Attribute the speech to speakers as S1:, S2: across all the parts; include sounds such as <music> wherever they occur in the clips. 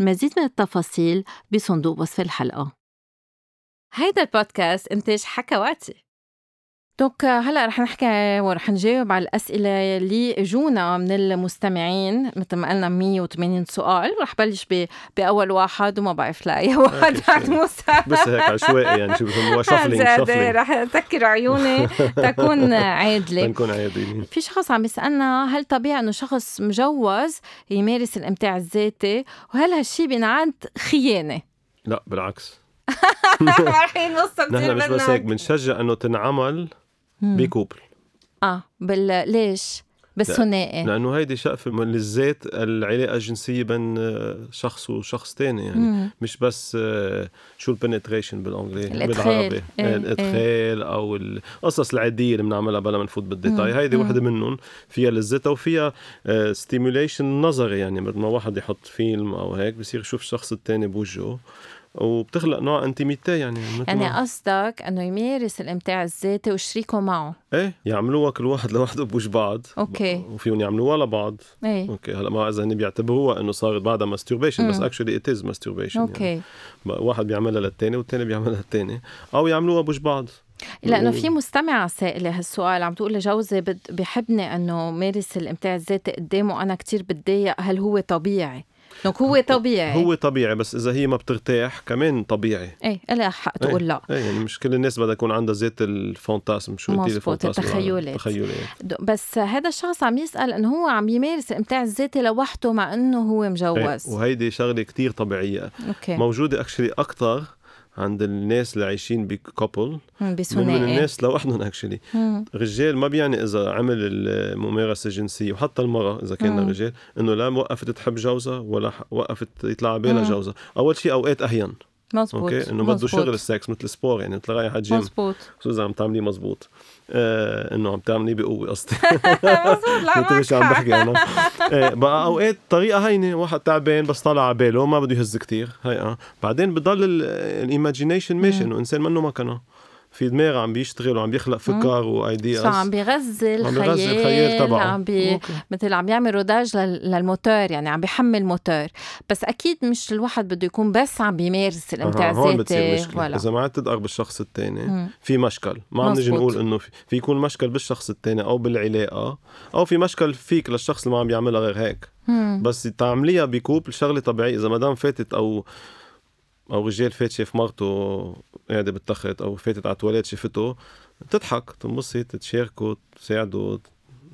S1: المزيد من التفاصيل بصندوق وصف الحلقة
S2: هيدا البودكاست انتاج حكواتي دوك هلا رح نحكي ورح نجاوب على الاسئله اللي اجونا من المستمعين مثل ما قلنا 180 سؤال رح بلش ب... باول واحد وما بعرف لاي واحد
S3: هيك
S2: بعد
S3: شوي.
S2: موسى
S3: بس هيك عشوائي
S2: <laughs>
S3: يعني شو بسموها شفلينج
S2: زادة
S3: شفلينج
S2: رح اسكر
S3: <laughs>
S2: عيوني تكون عادله
S3: تنكون عادلين
S2: في شخص عم يسألنا هل طبيعي انه شخص مجوز يمارس الامتاع الذاتي وهل هالشي بينعد
S3: <laughs>
S2: خيانه؟
S3: لا بالعكس
S2: رايحين نص كثير
S3: نحن مش بس هيك بنشجع انه تنعمل بكوبل
S2: اه بال ليش؟ بالثنائي
S3: لانه هيدي شقفه من للذات العلاقه الجنسيه بين آه، شخص وشخص تاني يعني
S2: مم.
S3: مش بس آه، شو البنتريشن بالانجلي
S2: الإدخال.
S3: بالعربي
S2: إيه، إيه.
S3: الادخال او القصص العاديه اللي بنعملها بلا ما نفوت بالديتاي
S2: مم.
S3: هيدي
S2: مم.
S3: وحده منهم فيها لذتها وفيها ستيموليشن نظري يعني مثل ما واحد يحط فيلم او هيك بصير يشوف الشخص التاني بوجهه وبتخلق نوع انتيميتي يعني مثل
S2: يعني
S3: ما-
S2: قصدك انه يمارس الامتاع الذاتي وشريكه معه
S3: ايه يعملوها كل واحد لوحده بوج بعض
S2: أوكي.
S3: وفيهم يعملوها لبعض
S2: ايه
S3: اوكي هلا ما اذا هن بيعتبروها انه صارت بعدها ماستربيشن بس
S2: مم.
S3: اكشلي ات از ماستربيشن يعني
S2: اوكي
S3: واحد بيعملها للثاني والثاني بيعملها للثاني او يعملوها بوج بعض
S2: لانه في مستمعه سائله هالسؤال عم تقول لجوزي بد... بحبني انه مارس الامتاع الذاتي قدامه انا كتير بتضايق هل هو طبيعي؟ لك هو طبيعي
S3: هو طبيعي بس اذا هي ما بترتاح كمان طبيعي
S2: ايه لها حق تقول لا
S3: ايه يعني مش كل الناس بدها يكون عندها ذات الفانتاسم شو قلتي لي
S2: مزبوط،
S3: فانتاسم؟
S2: التخيلات.
S3: التخيلات إيه،
S2: د- بس هذا الشخص عم يسال انه هو عم يمارس الامتاع الذاتي لوحده مع انه هو
S3: إيه،
S2: مجوز
S3: وهيدي شغله كتير طبيعيه
S2: اوكي
S3: موجوده اكشلي اكثر عند الناس اللي عايشين بكوبل
S2: مم،
S3: من
S2: بثنائي
S3: الناس لوحدهم اكشلي
S2: مم.
S3: رجال ما بيعني اذا عمل الممارسه الجنسيه وحتى المراه اذا كان
S2: مم.
S3: رجال انه لا وقفت تحب جوزها ولا ح- وقفت يطلع بالها
S2: مم.
S3: جوزها اول شيء اوقات اهين
S2: مزبوط
S3: اوكي انه بده
S2: مزبوط.
S3: شغل السكس مثل سبور يعني مثل رايح على الجيم
S2: مزبوط
S3: شو اذا عم تعمليه مزبوط آه انه عم تعمليه بقوه
S2: <laughs>
S3: قصدي <laughs>
S2: مزبوط لا
S3: انت
S2: معك
S3: مش عم
S2: حق.
S3: بحكي انا آه بقى اوقات طريقه هينه واحد تعبان بس طالع على باله ما بده يهز كثير هي اه بعدين بضل الايماجينيشن ماشي انه انسان منه مكنه في دماغ عم بيشتغل وعم بيخلق فكر وايدياز
S2: صح عم بيغذي
S3: عم بيغذي الخيال
S2: الخيال
S3: تبعه.
S2: عم بي مثل عم يعمل روداج لل- للموتور يعني عم بيحمل موتور بس اكيد مش الواحد بده يكون بس عم بيمارس الامتاع
S3: أها، هون بتصير
S2: الذاتي
S3: مشكلة
S2: ولا
S3: إذا ما عاد تدقق بالشخص الثاني
S2: مم.
S3: في مشكل ما عم نجي
S2: مزبوط.
S3: نقول إنه في, في يكون مشكل بالشخص الثاني أو بالعلاقة أو في مشكل فيك للشخص اللي ما عم بيعملها غير هيك
S2: مم.
S3: بس تعمليها بكوبل شغلة طبيعية إذا مدام فاتت أو أو رجال فات شاف مرته قاعدة بالتخت أو فاتت على التواليت شافته تضحك تنبسط تشاركه تساعده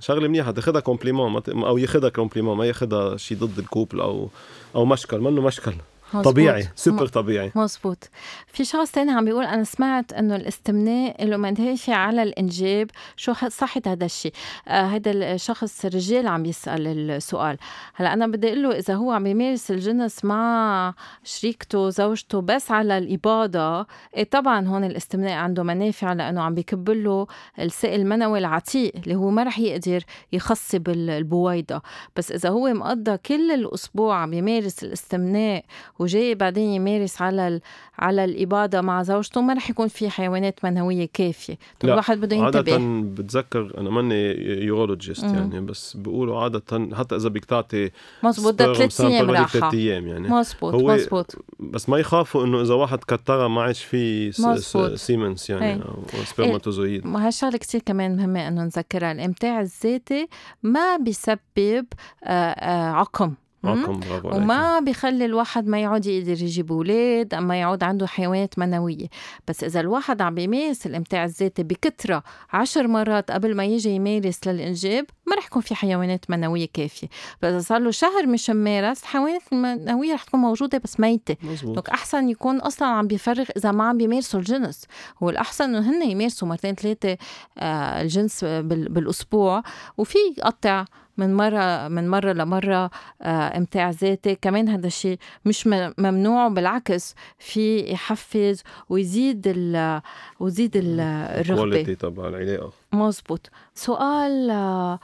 S3: شغله منيحه تاخذها كومبليمون ما ت- او ياخذها كومبليمون ما ياخذها شيء ضد الكوبل او او مشكل منه مشكل
S2: مزبوط.
S3: طبيعي
S2: م-
S3: سوبر طبيعي
S2: مزبوط في شخص تاني عم بيقول انا سمعت انه الاستمناء له منهاشه على الانجاب شو ح- صحة هذا الشيء آه هذا الشخص رجال عم يسال السؤال هلا انا بدي اقول له اذا هو عم يمارس الجنس مع شريكته زوجته بس على الاباضه إيه طبعا هون الاستمناء عنده منافع لانه عم بيكب له السائل المنوي العتيق اللي هو ما رح يقدر يخصي بال- البويضه بس اذا هو مقضى كل الاسبوع عم يمارس الاستمناء وجاي بعدين يمارس على ال... على الاباضه مع زوجته ما رح يكون في حيوانات منويه كافيه طب
S3: لا،
S2: الواحد بده
S3: عادة
S2: ينتبه
S3: بتذكر انا ماني يورولوجيست
S2: مم.
S3: يعني بس بيقولوا عادة حتى اذا بدك تعطي
S2: مزبوط ده
S3: sperm
S2: ثلاث
S3: sample
S2: ايام
S3: بدك
S2: راحه
S3: ثلاث ايام يعني
S2: مزبوط
S3: هو-
S2: مزبوط
S3: بس ما يخافوا انه اذا واحد كترها ما عادش في س- س-
S2: مزبوط.
S3: سيمنز
S2: إيه.
S3: يعني او سبرماتوزويد
S2: وهالشغلة كتير كمان مهمة إنه نذكرها الإمتاع الذاتي ما بيسبب آه، آه، عقم مم؟
S3: عقم برافو عليك.
S2: وما بخلي الواحد ما يعود يقدر يجيب اولاد اما يعود عنده حيوانات منويه بس اذا الواحد عم بيمارس الامتاع الذاتي بكثره عشر مرات قبل ما يجي يمارس للانجاب ما رح يكون في حيوانات منويه كافيه فاذا صار له شهر مش ممارس الحيوانات المنويه رح تكون موجوده بس ميته
S3: مزبوط
S2: دونك احسن يكون اصلا عم بيفرغ اذا ما عم بيمارسوا الجنس هو الاحسن انه هن يمارسوا مرتين ثلاثه آه، الجنس بال- بالاسبوع وفي يقطع من مره من مره لمره آه، امتاع ذاتي كمان هذا الشيء مش م- ممنوع بالعكس في يحفز ويزيد ال ويزيد ال- الرغبه
S3: كواليتي تبع العلاقه
S2: مزبوط سؤال آه،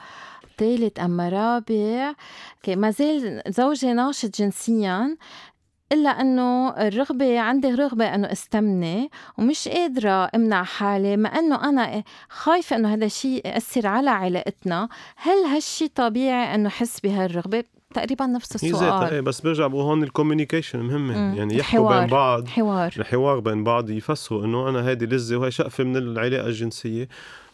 S2: ثالث أما رابع أوكي، ما زال زوجي ناشط جنسيا إلا أنه الرغبة عندي رغبة أنه استمني ومش قادرة أمنع حالي مع أنه أنا خايفة أنه هذا الشيء يأثر على علاقتنا هل هالشي طبيعي أنه أحس بهالرغبة؟ تقريبا نفس
S3: هي ذاتها
S2: السؤال
S3: إيه، بس برجع بقول هون الكوميونيكيشن مهمه
S2: مم.
S3: يعني يحكوا
S2: الحوار.
S3: بين بعض
S2: حوار
S3: الحوار بين بعض يفسروا انه انا هيدي لذه وهي شقفه من العلاقه الجنسيه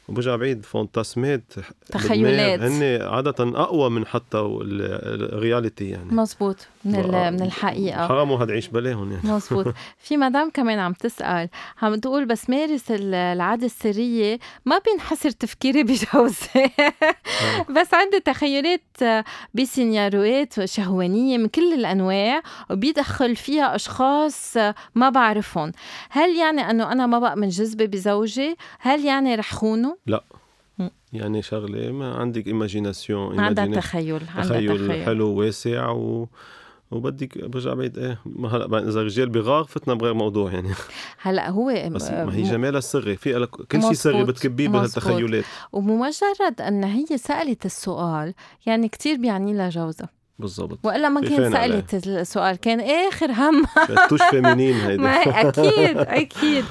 S3: وبرجع بعيد فانتاسمات
S2: تخيلات.
S3: هن عاده اقوى من حتى ال- ال- الرياليتي يعني
S2: مزبوط من, ال- من الحقيقة
S3: حرام واحد يعيش بلاهم يعني
S2: مزبوط في مدام كمان عم تسأل عم تقول بس مارس ال- العادة السرية ما بينحصر تفكيري <laughs> بجوزي
S3: آه.
S2: بس عندي تخيلات آه، بسيناريوهات شهوانية من كل الأنواع وبيدخل فيها أشخاص آه، ما بعرفهم هل يعني أنه أنا ما بقى منجذبة بزوجي هل يعني رح خونه
S3: يعني شغله ما عندك ايماجيناسيون
S2: عندها تخيل عندها
S3: تخيل
S2: تخيل
S3: حلو واسع و... وبدك برجع بعيد ايه ما هلا بقى اذا رجال بغار فتنا بغير موضوع يعني
S2: هلا هو
S3: بس
S2: آه،
S3: ما هي جمالها السري في لك كل شيء
S2: مزبوط،
S3: سري بتكبيه
S2: مزبوط.
S3: بهالتخيلات
S2: ومجرد أن هي سألت السؤال يعني كتير بيعني لها جوزها
S3: بالضبط
S2: والا ما
S3: في
S2: كان
S3: فين عليه.
S2: سالت السؤال كان اخر هم <laughs>
S3: توش فيمينين هيدا
S2: ما اكيد
S3: <laughs>
S2: اكيد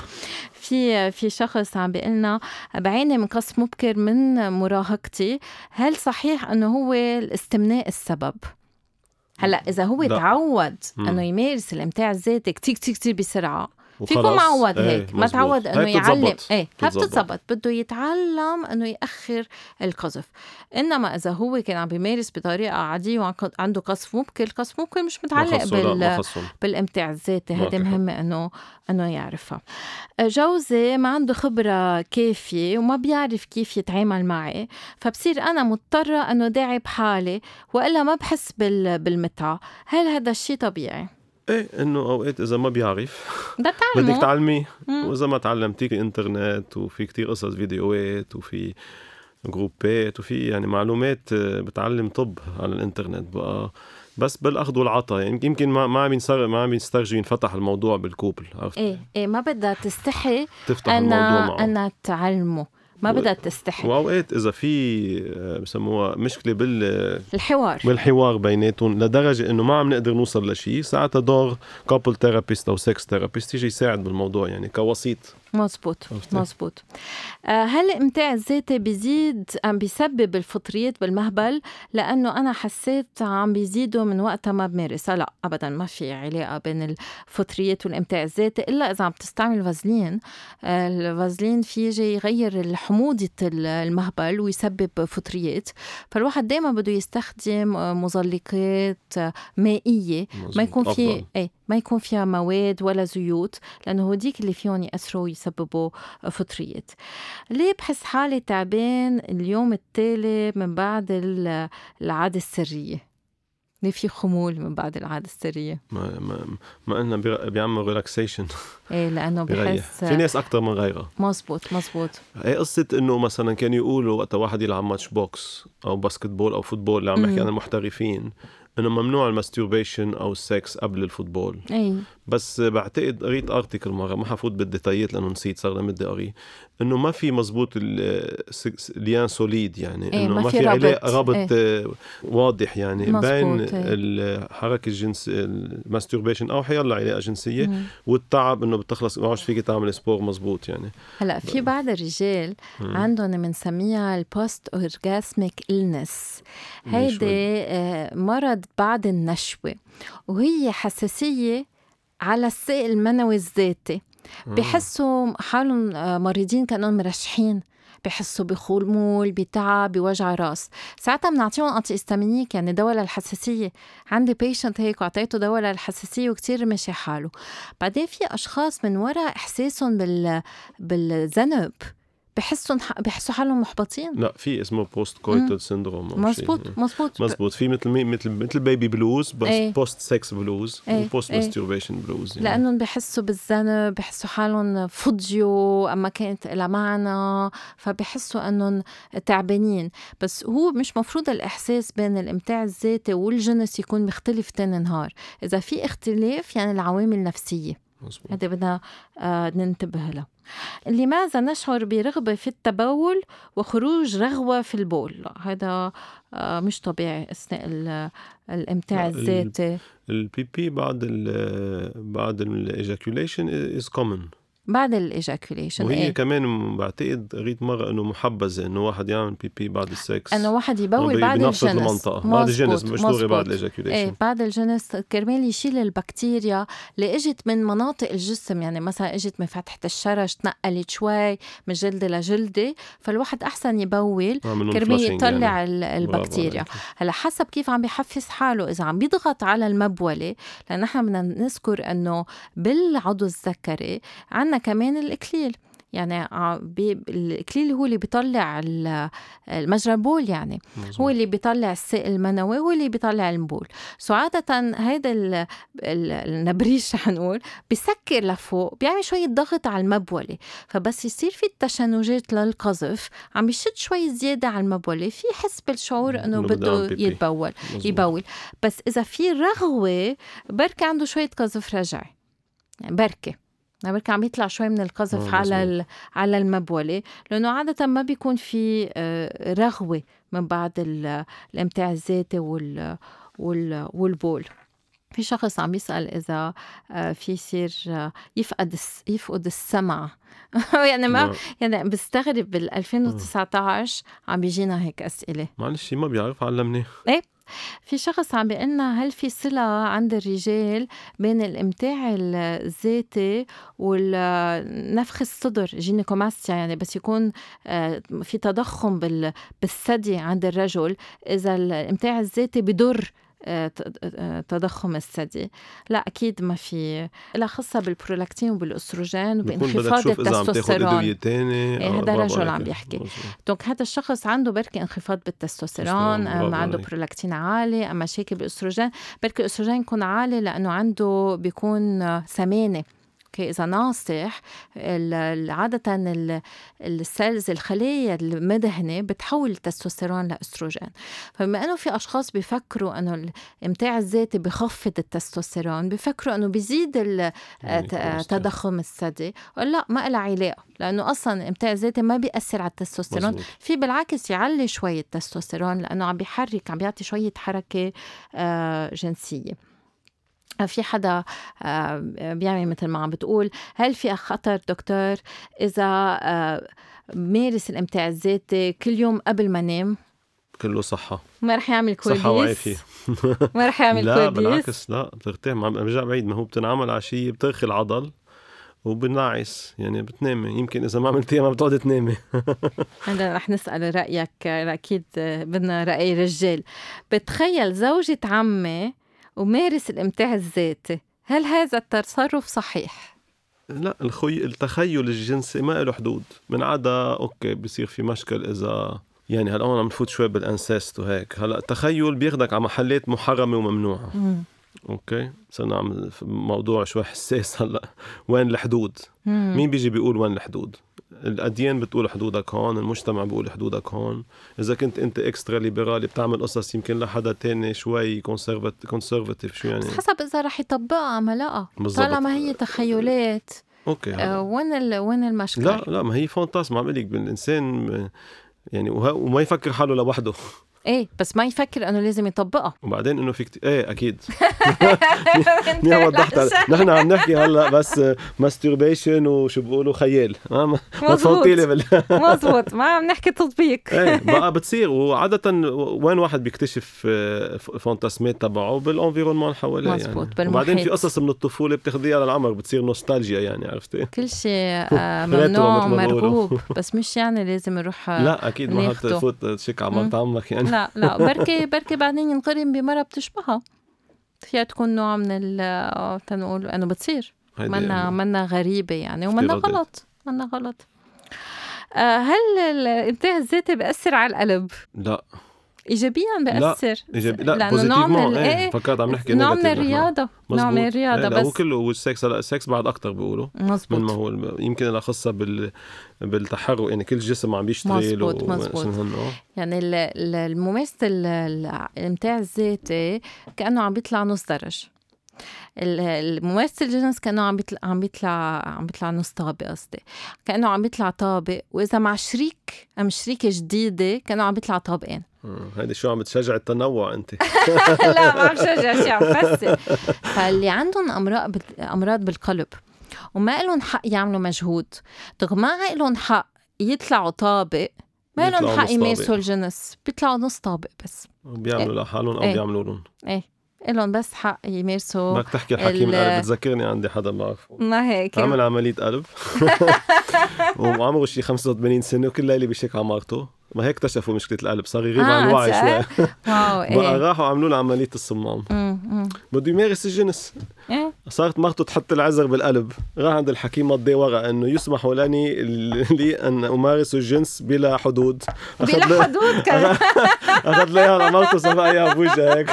S2: في في شخص عم بيقلنا بعاني من قص مبكر من مراهقتي هل صحيح انه هو الاستمناء السبب هلا اذا هو
S3: لا.
S2: تعود
S3: مم.
S2: انه يمارس الامتاع الذاتي كتير كتير كتير بسرعه
S3: وخلص.
S2: فيكون معود
S3: إيه،
S2: هيك ما
S3: مزبوط.
S2: تعود انه
S3: هيك
S2: يعلم
S3: بتزبط.
S2: ايه
S3: بتزبط.
S2: بتتظبط بده يتعلم انه ياخر القذف انما اذا هو كان عم بيمارس بطريقه عاديه وعنده قذف ممكن القذف ممكن مش
S3: ما
S2: متعلق
S3: خصوا، لا،
S2: بال
S3: ما خصهم.
S2: بالامتاع الذاتي
S3: معك
S2: هيدي
S3: حق.
S2: مهمة انه انه يعرفها جوزي ما عنده خبرة كافية وما بيعرف كيف يتعامل معي فبصير انا مضطرة انه داعب حالي والا ما بحس بال... بالمتعة هل هذا الشيء طبيعي؟
S3: ايه انه اوقات اذا ما
S2: <laughs>
S3: بيعرف
S2: بدك
S3: بدك
S2: تعلمه
S3: تعلميه
S2: مم.
S3: واذا ما تعلمتيه في انترنت وفي كتير قصص فيديوهات وفي جروبات وفي يعني معلومات آه، بتعلم طب على الانترنت بقى بس بالاخذ والعطاء يعني يمكن ما ما عم ينسر ما عم ينسترجي ينفتح الموضوع بالكوبل عرفت
S2: ايه ايه ما بدها تستحي
S3: تفتح الموضوع
S2: انا
S3: معه
S2: انا تعلمه ما
S3: و-
S2: بدها تستحي
S3: واوقات اذا في آه، بسموها مشكله بال
S2: الحوار
S3: بالحوار بيناتهم لدرجه انه ما عم نقدر نوصل لشيء ساعتها دور كابل ثيرابيست او سكس ثيرابيست يجي يساعد بالموضوع يعني كوسيط
S2: مزبوط
S3: عرفتي؟
S2: مزبوط آه، هل الامتاع الذاتي بيزيد ام بيسبب الفطريات بالمهبل لانه انا حسيت عم بيزيدوا من وقتها ما بمارسها لا ابدا ما في علاقه بين الفطريات والامتاع الذاتي الا اذا عم تستعمل فازلين آه، الفازلين في يجي يغير حموضه ال- المهبل ويسبب فطريات فالواحد دائما بده يستخدم آه، مزلقات آه، مائيه ما يكون في اي ما يكون فيها مواد ولا زيوت لانه هوديك اللي فيهم ياثروا ويسببوا فطريات ليه بحس حالي تعبان اليوم التالي من بعد ال- العاده السريه ليه في خمول من بعد العاده السريه
S3: ما ما ما قلنا بير- بيعمل ريلاكسيشن
S2: <laughs> ايه لانه
S3: <laughs> بيريح
S2: بحس
S3: في ناس اكثر من غيرها
S2: مزبوط مزبوط
S3: هي قصه انه مثلا كانوا يقولوا وقت واحد يلعب ماتش بوكس او باسكت بول او فوتبول اللي عم
S2: مم.
S3: بحكي عن المحترفين انه ممنوع الماستوربيشن او السكس قبل الفوتبول
S2: اي
S3: بس بعتقد قريت ارتكل مره ما حفوت بالديتايات لانه نسيت صار لمده قري انه ما في مزبوط ليان سوليد يعني
S2: إيه،
S3: انه
S2: ما
S3: ما,
S2: في
S3: في
S2: رابط.
S3: علاقه رابط
S2: إيه.
S3: آه، واضح يعني
S2: مزبوط،
S3: بين
S2: إيه.
S3: الحركه الجنس الماستربيشن او حيلا علاقه جنسيه
S2: مم.
S3: والتعب انه بتخلص ما عادش فيك تعمل سبور مزبوط يعني
S2: هلا في بعض الرجال
S3: مم.
S2: عندهم بنسميها البوست اورجاسميك النس
S3: ليش
S2: هيدي آه، مرض بعد النشوه وهي حساسيه على السائل المنوي الذاتي بحسوا حالهم آه، مريضين كانهم مرشحين بحسوا بخمول بتعب بوجع راس ساعتها بنعطيهم انتي استامينيك يعني دواء للحساسيه عندي بيشنت هيك وعطيته دواء للحساسيه وكتير مشي حاله بعدين في اشخاص من وراء احساسهم بال بالذنب بحسوا بحسوا حالهم محبطين
S3: لا في اسمه بوست كويتال سيندروم
S2: مزبوط مزبوط
S3: مزبوط يعني. في مثل مي- مثل مثل بيبي بلوز بس
S2: إيه.
S3: بوست سكس بلوز
S2: إيه،
S3: وبوست
S2: إيه.
S3: ماستربيشن بلوز يعني.
S2: لانهم بحسوا بالذنب بحسوا حالهم فضيوا اما كانت لها معنى فبحسوا انهم تعبانين بس هو مش مفروض الاحساس بين الامتاع الذاتي والجنس يكون مختلف تاني نهار اذا في اختلاف يعني العوامل نفسيه
S3: مزبوط.
S2: هذا بدنا آه، ننتبه له لماذا نشعر برغبة في التبول وخروج رغوة في البول هذا آه، مش طبيعي أثناء ال- الإمتاع
S3: لا، ال-
S2: الذاتي
S3: البي بي بعد ال بعد الايجاكوليشن از كومن
S2: بعد الإيجاكوليشن
S3: وهي
S2: إيه؟
S3: كمان بعتقد قريت مره انه محبذه انه واحد يعمل بي بي بعد السكس
S2: انه واحد
S3: بي-
S2: يبول بعد
S3: بنفس
S2: الجنس
S3: المنطقه بعد الجنس
S2: مزبوط،
S3: مش دغري
S2: مزبوط.
S3: بعد الايجاكوليشن
S2: ايه بعد الجنس كرمال يشيل البكتيريا اللي اجت من مناطق الجسم يعني مثلا اجت من فتحه الشرج تنقلت شوي من جلده لجلده فالواحد احسن يبول كرمال
S3: يعني.
S2: يطلع ال- البكتيريا هلا حسب كيف عم بيحفز حاله اذا عم بيضغط على المبوله لان نحن بدنا نذكر انه بالعضو الذكري عندنا كمان الاكليل يعني ع- بي- الاكليل هو اللي بيطلع ال- المجرى البول يعني هو اللي بيطلع السائل المنوي هو اللي بيطلع البول سو عادة هيدا ال- ال- النبريش <laughs> حنقول بسكر لفوق بيعمل شوية ضغط على المبولة فبس يصير في التشنجات للقذف عم بيشد شوي زيادة على المبولة في حس بالشعور انه
S3: إنه بده
S2: بده
S3: يعمل بيبي.
S2: يتبول يبول بس إذا في رغوة بركي عنده شوية قذف رجعي يعني بركي يعني بركي عم يطلع شوي من القذف
S3: آه،
S2: على ال- على المبولة لأنه عادة ما بيكون في آه، رغوة من بعد ال- الامتاع الذاتي وال وال والبول في شخص عم يسأل إذا آه، في يصير آه، يفقد الس- يفقد السمع <laughs> يعني
S3: نعم.
S2: ما يعني بستغرب بال 2019 عم بيجينا هيك أسئلة
S3: معلش ما بيعرف علمني
S2: في شخص عم بيقلنا هل في صلة عند الرجال بين الامتاع الذاتي والنفخ الصدر جينيكوماستيا يعني بس يكون آه، في تضخم بال- بالثدي عند الرجل إذا الامتاع الذاتي بضر آه، ت- آه، تضخم الثدي لا أكيد ما في لها خاصة بالبرولاكتين وبالأستروجين
S3: بكون بدك
S2: وبانخفاض
S3: تشوف اذا عم تاخذ
S2: التستوستيرون
S3: ادويه ثانيه
S2: إيه، هذا رجل عم بيحكي. دونك هذا الشخص عنده بركي انخفاض بالتستوستيرون
S3: تستوستيرون، برافو
S2: أم عنده
S3: عليك.
S2: برولكتين عالي أم مشاكل بالاستروجين بركي الاستروجين يكون عالي لأنه عنده بيكون آه، سمانة اوكي اذا ناصح ال- ال- عاده ال- السيلز الخلايا المدهنه بتحول التستوستيرون لاستروجين فبما انه في اشخاص بيفكروا انه الامتاع الذاتي بخفض التستوستيرون بيفكروا انه بيزيد ال-
S3: يعني
S2: آه، ت- آه، تضخم الثدي لا ما لها علاقه لانه اصلا الامتاع الذاتي ما بياثر على التستوستيرون
S3: مزبوط.
S2: في بالعكس يعلي شويه التستوستيرون لانه عم بيحرك عم بيعطي شويه حركه آه، جنسيه في حدا آه، بيعمل مثل ما عم بتقول هل في خطر دكتور اذا آه، مارس الامتاع الذاتي كل يوم قبل ما نام
S3: كله صحه
S2: ما رح يعمل كويس
S3: صحه وعافيه
S2: ما رح يعمل كويس
S3: <laughs> لا بالعكس لا بترتاح ما برجع بعيد ما هو بتنعمل عشيه بترخي العضل وبنعس يعني بتنامي يمكن اذا ما عملتيها ما بتقعدي تنامي
S2: هلا رح نسأل رأيك أكيد بدنا رأي رجال بتخيل زوجة عمي ومارس الامتاع الذاتي هل هذا التصرف صحيح؟
S3: لا الخي... التخيل الجنسي ما له حدود من عدا اوكي بصير في مشكل اذا يعني هلا هون عم نفوت شوي بالانسست وهيك هلا التخيل بياخدك على محلات محرمه وممنوعه اوكي صرنا عم في موضوع شوي حساس هلا وين الحدود مين بيجي بيقول وين الحدود الاديان بتقول حدودك هون المجتمع بيقول حدودك هون اذا كنت انت اكسترا ليبرالي بتعمل قصص يمكن لحدا تاني شوي كونسرفتيف شو يعني
S2: بس حسب إذا رح يطبقها ما لا
S3: بالضبط.
S2: طالما هي تخيلات
S3: اوكي هلا.
S2: آه، وين ال- وين المشكل؟
S3: لا لا ما هي فانتاس ما عم بقلك الانسان آه، يعني وه- وما يفكر حاله لوحده
S2: ايه بس ما يفكر انه لازم
S3: <laughs>
S2: يطبقها
S3: وبعدين انه في كت... ايه اكيد
S2: <laughs>
S3: يا وضحت هلا. نحن عم نحكي هلا بس ماستربيشن وشو بيقولوا خيال ما ما- ما
S2: مزبوط.
S3: تفوتي لي بال...
S2: مزبوط ما عم نحكي
S3: <laughs>
S2: تطبيق
S3: ايه بقى بتصير وعاده و- وين واحد بيكتشف آه، ف- فانتاسمات تبعه بالانفيرونمون حواليه يعني
S2: مزبوط،
S3: وبعدين
S2: بالمحيط.
S3: في قصص من الطفوله بتاخذيها للعمر بتصير نوستالجيا يعني عرفتي؟
S2: كل شيء آه،
S3: ريترو
S2: ممنوع
S3: مثل ما بقولوا.
S2: مرغوب بس مش يعني لازم نروح آه،
S3: لا اكيد ما
S2: ناخده.
S3: حتفوت تشيك على مرت عمك يعني
S2: لا لا بركي بركي بعدين ينقرن بمرة بتشبهها فيها تكون نوع من ال تنقول انه بتصير
S3: <laughs> هيدي
S2: نعم. منا منا غريبة يعني ومنا
S3: افتراضات.
S2: غلط منا غلط آه، هل الانتباه الذاتي بأثر على القلب؟
S3: لا
S2: إيجابيا بأثر
S3: ايجابي لا
S2: لأنه نوع من
S3: بوزيتيفمون
S2: ال-
S3: ايه
S2: إيه،
S3: فكرت عم نحكي
S2: نوع من
S3: negative نحن.
S2: الرياضة نوع من
S3: مزبوط.
S2: الرياضة
S3: إيه، لا هو
S2: نعم بس
S3: كله والسكس هلا السكس بعد اكثر بيقولوا من ما
S2: مزبوط
S3: هو الم- يمكن لها خاصه بال بالتحرك يعني كل جسم عم بيشتغل
S2: مزبوط، مزبوط.
S3: مزبوط
S2: يعني ال- ال- الممارسة ال- ال- الامتاع الذاتي كأنه عم بيطلع نص درج ال- الممارسة الجنس كأنه عم بيطلع عم بيطلع عم بيطلع نص طابق قصدي كأنه عم بيطلع طابق وإذا مع شريك أم شريكة جديدة كأنه عم بيطلع
S3: <laughs>
S2: طابقين
S3: آه، هيدي شو عم بتشجع التنوع انت
S2: لا ما عم شجع شي عم فسر فاللي عندهم امراض بال- امراض بالقلب وما لهم حق يعملوا مجهود طب ما لهم حق يطلعوا طابق ما
S3: بيطلعوا
S2: لهم
S3: نص
S2: حق
S3: طابق.
S2: يمارسوا الجنس بيطلعوا نص طابق بس
S3: بيعملوا لحالهم او
S2: إيه.
S3: بيعملوا لهم
S2: ايه لهم بس حق يمارسوا
S3: بدك تحكي حكيم
S2: ال-
S3: القلب بتذكرني عندي حدا بعرفه
S2: ما هيك
S3: عمل عملية
S2: <laughs>
S3: قلب وعمره شي 85 سنة وكل ليلة بيشيك عمارته ما هيك اكتشفوا مشكلة القلب صار يغيب
S2: آه،
S3: عن
S2: <laughs>
S3: وعي
S2: صار؟
S3: شوي
S2: واو
S3: <laughs> بقى
S2: ايه
S3: راحوا عملوا له عملية الصمام
S2: أمم، أمم.
S3: بده يمارس الجنس
S2: ايه
S3: صارت مرته تحط العذر بالقلب راح عند الحكيم مضي ورقة انه يسمح لني <laughs> لي ان امارس الجنس بلا حدود
S2: بلا
S3: أخذ لها-
S2: حدود كان
S3: <laughs>
S2: <laughs>
S3: اخذ لها مرته صفقها اياها بوجهها هيك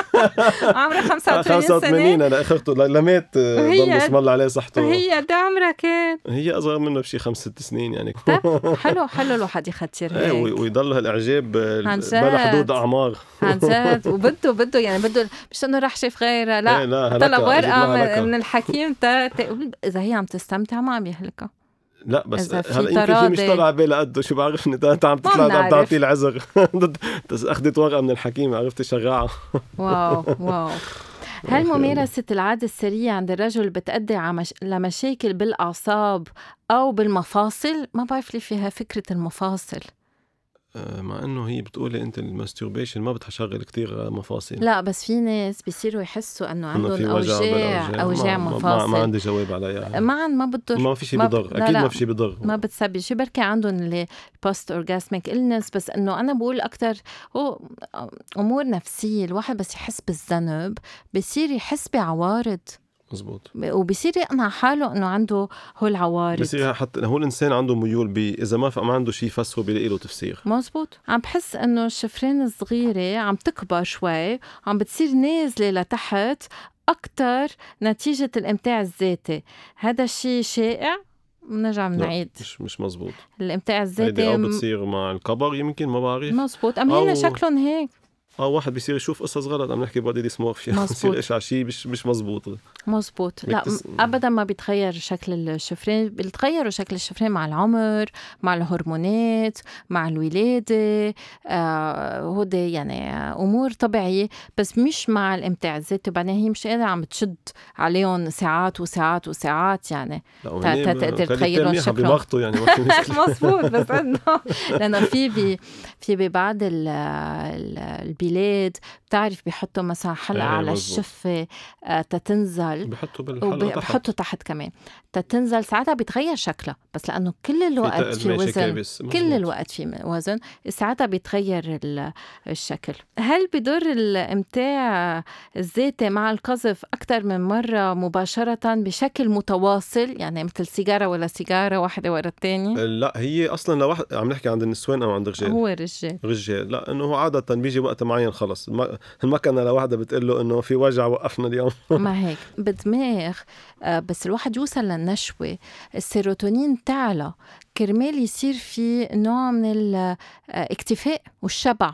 S2: عمره 85
S3: 85
S2: سنه
S3: انا اخذته لميت آه،
S2: وهي-
S3: ضل اسم الله عليه صحته هي,
S2: هي قد عمرها
S3: <laughs>
S2: كان
S3: اصغر منه بشي خمس ست سنين يعني <laughs>
S2: طيب، إيه. حلو حلو الواحد يختار
S3: ايه
S2: هيك
S3: وي- ويضل هالاعجاب آه،
S2: عن
S3: بلا
S2: جد.
S3: حدود اعمار
S2: عن
S3: <laughs>
S2: جد وبده بده يعني بده مش انه راح شاف غيرها
S3: إيه،
S2: لا
S3: لا
S2: طلب
S3: هلكها،
S2: ورقه
S3: جبناها
S2: من-
S3: هلكها.
S2: من الحكيم تا تا- اذا هي عم تستمتع ما عم يهلكها
S3: لا بس
S2: إذا في
S3: هلا يمكن في مش
S2: تراضي.
S3: طلع بالي قده شو بعرفني ده انت عم
S2: ما
S3: تطلع عم
S2: بنعرف.
S3: تعطيه العذر <laughs> اخذت ورقه من الحكيم عرفت شغاعه
S2: واو
S3: <laughs>
S2: واو هل ممارسة العادة السرية عند الرجل بتأدي عمش... لمشاكل بالأعصاب أو بالمفاصل؟ ما بعرف لي فيها فكرة المفاصل
S3: آه، مع انه هي بتقولي انت الماستوربيشن ما بتشغل كثير مفاصل
S2: لا بس في ناس بيصيروا يحسوا أنه
S3: إيه. إنه
S2: عندهم
S3: في وجع
S2: أوجاع
S3: بالأوجاع.
S2: أوجاع
S3: ما- ما- ما, ما
S2: مفاصل
S3: عندي جواب عليها يعني
S2: ما عن ما بتضر
S3: ما في شيء
S2: ما ب-
S3: بضر
S2: لا،
S3: اكيد
S2: لا.
S3: ما في شيء بضر
S2: ما بتسبب شو بركي عندهم اللي بوست اورجاسميك النس بس انه انا بقول اكثر هو امور نفسيه الواحد بس يحس بالذنب بصير يحس بعوارض
S3: مزبوط
S2: وبصير يقنع حاله انه عنده هو العوارض
S3: بصير حتى هو الانسان عنده ميول ب اذا ما ف- ما عنده شيء فسره بيلاقي له تفسير
S2: مزبوط عم بحس انه الشفرين الصغيره عم تكبر شوي عم بتصير نازله لتحت اكثر نتيجه الامتاع الذاتي هذا الشيء شائع بنرجع بنعيد
S3: مش مش مزبوط
S2: الامتاع
S3: هيدي
S2: الذاتي
S3: او بتصير مع الكبر يمكن ما بعرف
S2: مزبوط ام هن
S3: أو-
S2: شكلهم هيك
S3: او واحد بيصير يشوف قصص غلط عم نحكي بودي ديسمورفيا
S2: مزبوط.
S3: <laughs> بصير يشعر شيء مش مش مزبوط
S2: مزبوط لا
S3: بتس-
S2: م- ابدا ما بيتغير شكل الشفرين بيتغيروا شكل الشفرين مع العمر مع الهرمونات مع الولاده آه هودي يعني آه، امور طبيعيه بس مش مع الامتاع الذاتي وبعدين هي مش قادره عم تشد عليهم ساعات وساعات وساعات يعني تا- تا- تقدر تخيلهم شكلهم.
S3: بمقته يعني ما
S2: <laughs>
S3: في مشكله
S2: مزبوط بس انه <laughs> لانه في بي في ببعض ال- ال- البلاد بتعرف بيحطوا مثلا حلقه
S3: إيه،
S2: على
S3: مزبوط.
S2: الشفه آه، تتنزل
S3: بحطوا بالحلقه تحت
S2: وبحطوا تحت كمان تتنزل ساعتها بيتغير شكلها بس لانه كل الوقت في
S3: تقل ماشي
S2: وزن
S3: كابس. مزبوط.
S2: كل الوقت في م- وزن ساعتها بيتغير ال- الشكل هل بضر الامتاع الذاتي مع القذف اكثر من مره مباشره بشكل متواصل يعني مثل سيجاره ولا سيجاره واحده ورا الثانيه
S3: أه، لا هي اصلا لواحد عم نحكي عند النسوان او عند الرجال
S2: هو الرجال
S3: رجال لا انه هو عاده بيجي وقت معين خلص الم- المكنه لوحدها بتقول له انه في وجع وقفنا اليوم
S2: ما هيك بالدماغ آه، بس الواحد يوصل للنشوة السيروتونين تعلى كرمال يصير في نوع من الاكتفاء والشبع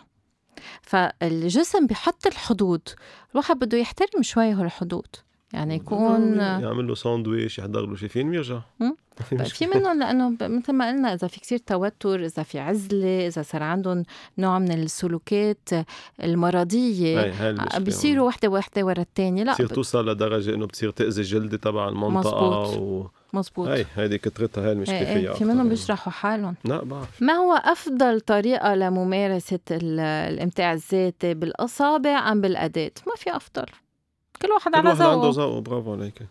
S2: فالجسم بيحط الحدود الواحد بده يحترم شوي هالحدود يعني يكون
S3: <laughs> يعمل له ساندويش يحضر له شي فيلم يرجع <laughs>
S2: مم.
S3: ما في
S2: في
S3: مشكله
S2: منهم لانه ب- مثل ما قلنا اذا في كتير توتر اذا في عزله اذا صار عندهم نوع من السلوكات المرضيه
S3: هاي- هاي المشكلة.
S2: بيصيروا وحده وحده ورا الثانيه لا
S3: بتصير توصل لدرجه انه بتصير تاذي الجلد تبع المنطقه
S2: مزبوط.
S3: و...
S2: مزبوط
S3: هاي هيدي كثرتها هاي المشكله
S2: إيه، إيه،
S3: فيها
S2: في
S3: أكتر
S2: منهم
S3: يعني.
S2: بيشرحوا حالهم
S3: لا بعرف
S2: ما هو أفضل طريقة لممارسة ال- الامتاع الذاتي بالأصابع أم بالأداة؟ ما في أفضل كل واحد
S3: كل
S2: على
S3: واحد عنده
S2: ذوقه
S3: ذوقه برافو عليك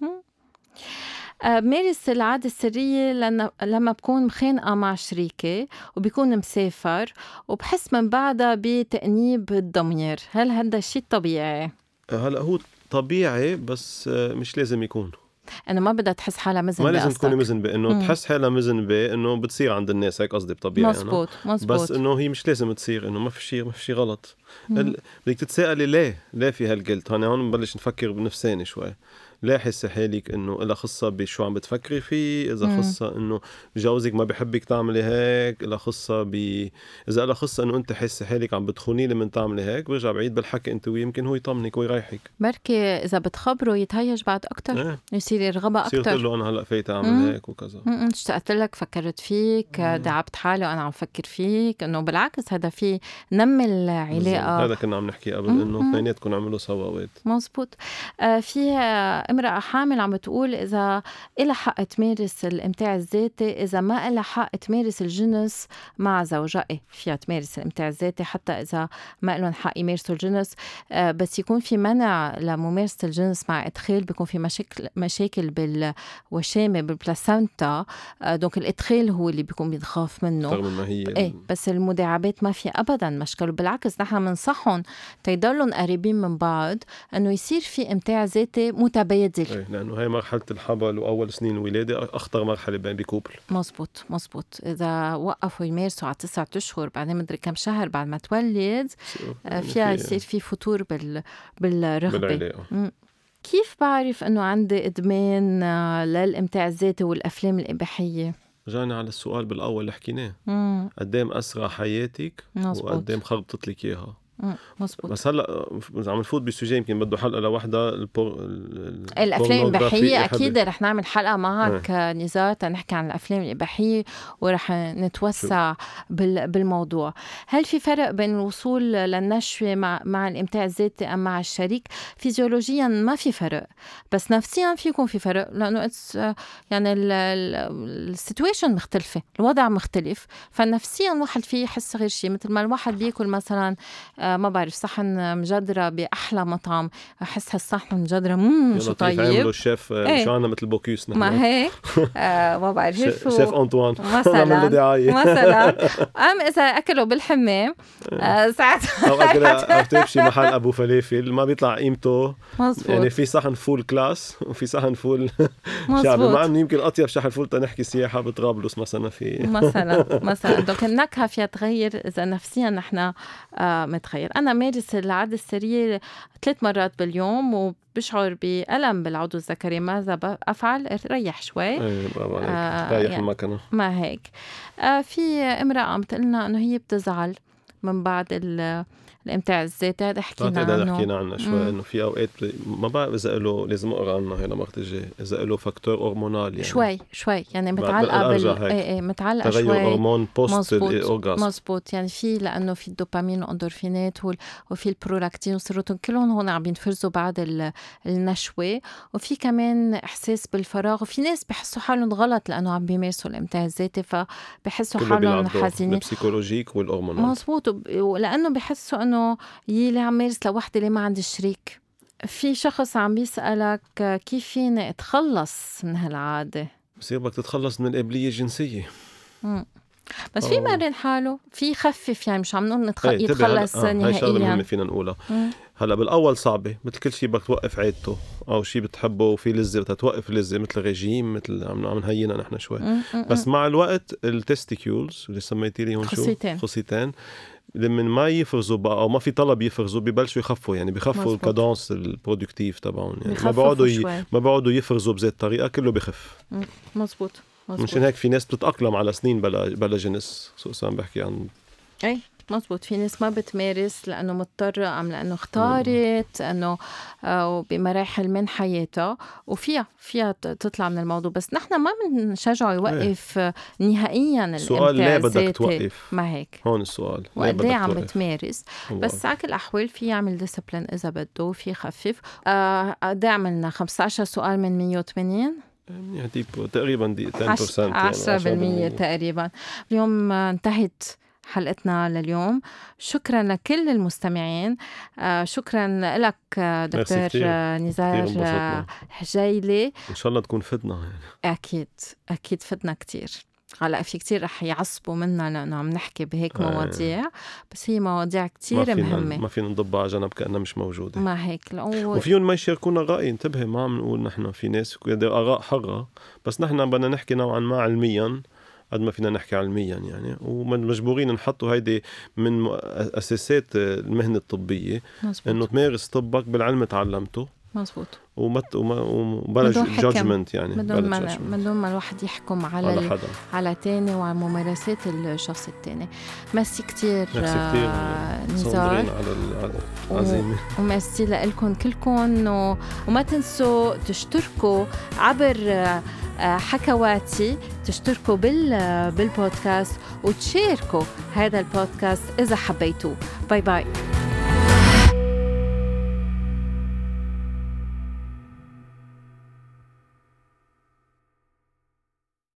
S2: آه، بمارس العادة السرية لأن لما بكون مخانقة مع شريكي وبكون مسافر وبحس من بعدها بتأنيب الضمير هل هذا الشيء طبيعي؟
S3: هلا هو طبيعي بس آه، مش لازم يكون
S2: انه ما بدها تحس حالها مزن
S3: ما لازم
S2: بقصدك.
S3: تكوني مذنبه انه
S2: مم.
S3: تحس حالها مذنبه انه بتصير عند الناس هيك قصدي بطبيعي أنا.
S2: مزبوط مزبوط
S3: بس انه هي مش لازم تصير انه ما في شيء ما في شيء غلط ال- بدك تتساءلي ليه ليه في هالجلد هون هون ببلش نفكر بنفساني شوي ليه حس حالك انه إلها خصها بشو عم بتفكري فيه اذا
S2: مم.
S3: خصها انه جوزك ما بحبك تعملي هيك إلها خصها ب اذا إلها خصها انه انت حس حالك عم بتخوني لمن تعملي هيك برجع بعيد بالحكي انت وياه يمكن هو يطمنك ويريحك
S2: بركي اذا بتخبره يتهيج بعد اكثر
S3: ايه
S2: يصير يرغبها
S3: بصير
S2: اكثر
S3: تقول له انا هلا فايت
S2: مم.
S3: اعمل هيك وكذا
S2: م- م، اشتقت لك فكرت فيك
S3: مم.
S2: دعبت حالي وانا عم فكر فيك انه بالعكس هذا في نمي
S3: بالظبط.
S2: العلاقه
S3: هذا كنا عم نحكي قبل
S2: مم.
S3: انه
S2: مم.
S3: اثنيناتكم عملوا سوا اوقات
S2: مزبوط آه، في آه، امرأة حامل عم بتقول إذا إلها حق تمارس الإمتاع الذاتي إذا ما إلها حق تمارس الجنس مع زوجها إيه فيها تمارس الإمتاع الذاتي حتى إذا ما إلهم حق يمارسوا الجنس آه، بس يكون في منع لممارسة الجنس مع إدخال بيكون في مشاكل مشاكل بالوشامة بالبلاسنتا آه، دونك الإدخال هو اللي بيكون بيتخاف منه
S3: رغم ما هي
S2: ايه بس المداعبات ما في ابدا مشكله بالعكس نحن بنصحهم تيضلهم قريبين من بعض انه يصير في امتاع ذاتي متبادل
S3: ايه لانه هي مرحله الحبل واول سنين الولاده اخطر مرحله بين بكوبل
S2: مزبوط مزبوط اذا وقفوا يمارسوا على تسعة اشهر بعدين مدري كم شهر بعد ما تولد
S3: يعني
S2: آه، فيها يصير في فتور بال بالرغبه
S3: بالعلاقه
S2: كيف بعرف انه عندي ادمان آه، للامتاع الذاتي والافلام الاباحيه
S3: رجعنا على السؤال بالاول اللي حكيناه
S2: مم،
S3: قدام اسرع حياتك
S2: مزبوط.
S3: وقدام خربطت لك اياها
S2: مم، مزبوط
S3: بس هلا آه، عم نفوت بالسوجي يمكن بده حلقه لوحدها البور...
S2: الافلام الاباحيه اكيد
S3: حبيبي.
S2: رح نعمل حلقه معك نزار تنحكي عن الافلام الاباحيه ورح نتوسع بال- بالموضوع هل في فرق بين الوصول للنشوه مع مع الامتاع الذاتي ام مع الشريك فيزيولوجيا ما في فرق بس نفسيا في يكون في فرق لانه it's, آه، يعني السيتويشن مختلفه الوضع مختلف فنفسيا الواحد فيه يحس غير شيء مثل ما الواحد بياكل مثلا آه، ما بعرف صحن مجدره باحلى مطعم احس هالصحن مجدره مم
S3: يا
S2: شو
S3: لطيف، عملوا
S2: طيب
S3: الشيف آه،
S2: إيه.
S3: شو عنا مثل بوكيوس نحن
S2: ما هيك
S3: <laughs>
S2: آه ما
S3: شيف
S2: بعرف
S3: شيف
S2: <laughs> شو
S3: انطوان <laughs> عمل له
S2: مثلا
S3: دعايه <laughs>
S2: مثلا ام اذا اكلوا بالحمام
S3: <laughs>
S2: آه ساعتها
S3: او اكل او تمشي محل ابو فلافل ما بيطلع
S2: <laughs>
S3: قيمته يعني
S2: مزبوط
S3: في صحن فول كلاس وفي صحن فول شعبي مع
S2: مزبوط
S3: انه يمكن اطيب شحن فول تنحكي سياحه بطرابلس مثلا
S2: <laughs>
S3: في
S2: مثلا مثلا دونك النكهه فيها تغير اذا نفسيا نحن آه متغير انا مارس العاده السريه ثلاث مرات باليوم وبشعر بالم بالعضو الذكري ماذا ب- افعل ريح شوي
S3: إيه، برافو عليك
S2: آه،
S3: رايح
S2: يعني.
S3: المكنه
S2: ما هيك آه في امرأة عم تقلنا انه هي بتزعل من بعد ال- الامتاع الذاتي هذا حكينا
S3: بعتقد هذا
S2: عنه
S3: حكينا عنه
S2: مم.
S3: شوي انه في اوقات ب- ما بعرف اذا له لازم اقرا عنه هي لمرة الجاي اذا له فاكتور هرمونال يعني
S2: شوي شوي يعني
S3: بعد-
S2: متعلقة بال
S3: أرجع هيك.
S2: ايه ايه متعلقة
S3: تغير
S2: شوي
S3: هرمون بوست
S2: مزبوط
S3: الاورجازم
S2: مزبوط يعني في لانه في الدوبامين والاندورفينات وال- وفي البرولاكتين والسيروتون كلهم هون عم ينفرزوا بعد ال- النشوه وفي كمان احساس بالفراغ وفي ناس بحسوا حالهم غلط لانه عم بيمارسوا الامتاع الذاتي فبحسوا
S3: كله
S2: حالهم
S3: بيلعب دور
S2: حزينين
S3: البسيكولوجيك والهرمونال
S2: مزبوط وب- ولانه بحسوا انه يي ليه عم مارس لوحدي ليه ما عندي شريك في شخص عم بيسألك آه، كيف فيني اتخلص من هالعادة
S3: بصير بدك تتخلص من القابلية الجنسية
S2: بس في
S3: أوه.
S2: مرن حاله في خفف يعني مش عم نقول نتخ...
S3: هي انتبه هلا-
S2: يتخلص
S3: آه، هي شغلة مهمة
S2: نهائيا
S3: فينا نقولها
S2: مم.
S3: هلا بالاول صعبه مثل كل شيء بدك توقف عادته او شيء بتحبه وفي لذه بدها توقف لذه مثل رجيم مثل عم عم نهينها نحن شوي
S2: مم، مم،
S3: بس مع الوقت التستيكيولز اللي سميتي لي هون شو
S2: خصيتين.
S3: خصيتين لما ما يفرزوا بقى او ما في طلب يفرزوا ببلشوا يخفوا يعني بخفوا
S2: مزبوط.
S3: الكادونس البرودكتيف تبعهم يعني ما
S2: بخففوا
S3: بيقعدوا ي...
S2: شوي.
S3: ما بيقعدوا يفرزوا بذات الطريقه كله بخف
S2: مزبوط
S3: مشان
S2: مزبوط
S3: هيك في ناس بتتاقلم على سنين بلا بلا جنس خصوصا عم بحكي عن
S2: اي مزبوط في ناس ما بتمارس لانه مضطرة ام لانه اختارت انه آه، بمراحل من حياتها وفيها فيها ت- تطلع من الموضوع بس نحن ما بنشجعه يوقف آه، نهائيا الامتاع
S3: إيه. سؤال ليه بدك
S2: الذاتي.
S3: توقف؟
S2: ما هيك
S3: هون السؤال ليه بدك
S2: وقديه إيه عم
S3: توقف؟
S2: بتمارس
S3: الله
S2: بس على كل الاحوال في يعمل ديسبلين اذا بده في يخفف آه، قد إيه عملنا 15 سؤال من 180
S3: يعني ديب تقريبا دي 10% يعني
S2: 10% تقريبا اليوم آه، انتهت حلقتنا لليوم شكرا لكل المستمعين آه، شكرا لك آه،
S3: ميرسي
S2: دكتور
S3: كتير.
S2: آه،
S3: كتير
S2: نزار
S3: انبسطنا.
S2: آه، حجيلي
S3: ان شاء الله تكون فتنا يعني
S2: اكيد اكيد فدنا كتير هلا في كتير رح يعصبوا منا لانه عم نحكي بهيك
S3: آه.
S2: مواضيع بس هي مواضيع
S3: ما
S2: كتير
S3: فينا
S2: مهمه
S3: ما فينا نضبها على جنب كانها مش موجوده
S2: ما هيك لأنه
S3: وفيهم ما يشاركونا رأي انتبهي ما عم نقول نحن في ناس كده آراء حرة بس نحن بدنا نحكي نوعا ما علميا قد ما فينا نحكي علميا يعني ومجبورين نحطوا هيدي من مؤ- أساسات المهنة الطبية إنه
S2: مزبوط
S3: تمارس طبك بالعلم تعلمته
S2: مزبوط
S3: وما ت- وما وبلا
S2: بدون حكم.
S3: جادجمنت يعني
S2: بدون
S3: بلا
S2: ما
S3: judgment
S2: بدون ما الواحد يحكم على
S3: على
S2: ال-
S3: حدا
S2: على تاني وعلى ممارسات الشخص التاني ميرسي كتير
S3: ميرسي
S2: آه،
S3: كتير،
S2: نزار
S3: صندرين على ال-
S2: و-
S3: على العزيمة
S2: وميرسي لكم كلكم و... وما تنسوا تشتركوا عبر آه، آه، حكواتي تشتركوا بال... آه، بالبودكاست وتشاركوا هذا البودكاست إذا حبيتوه باي باي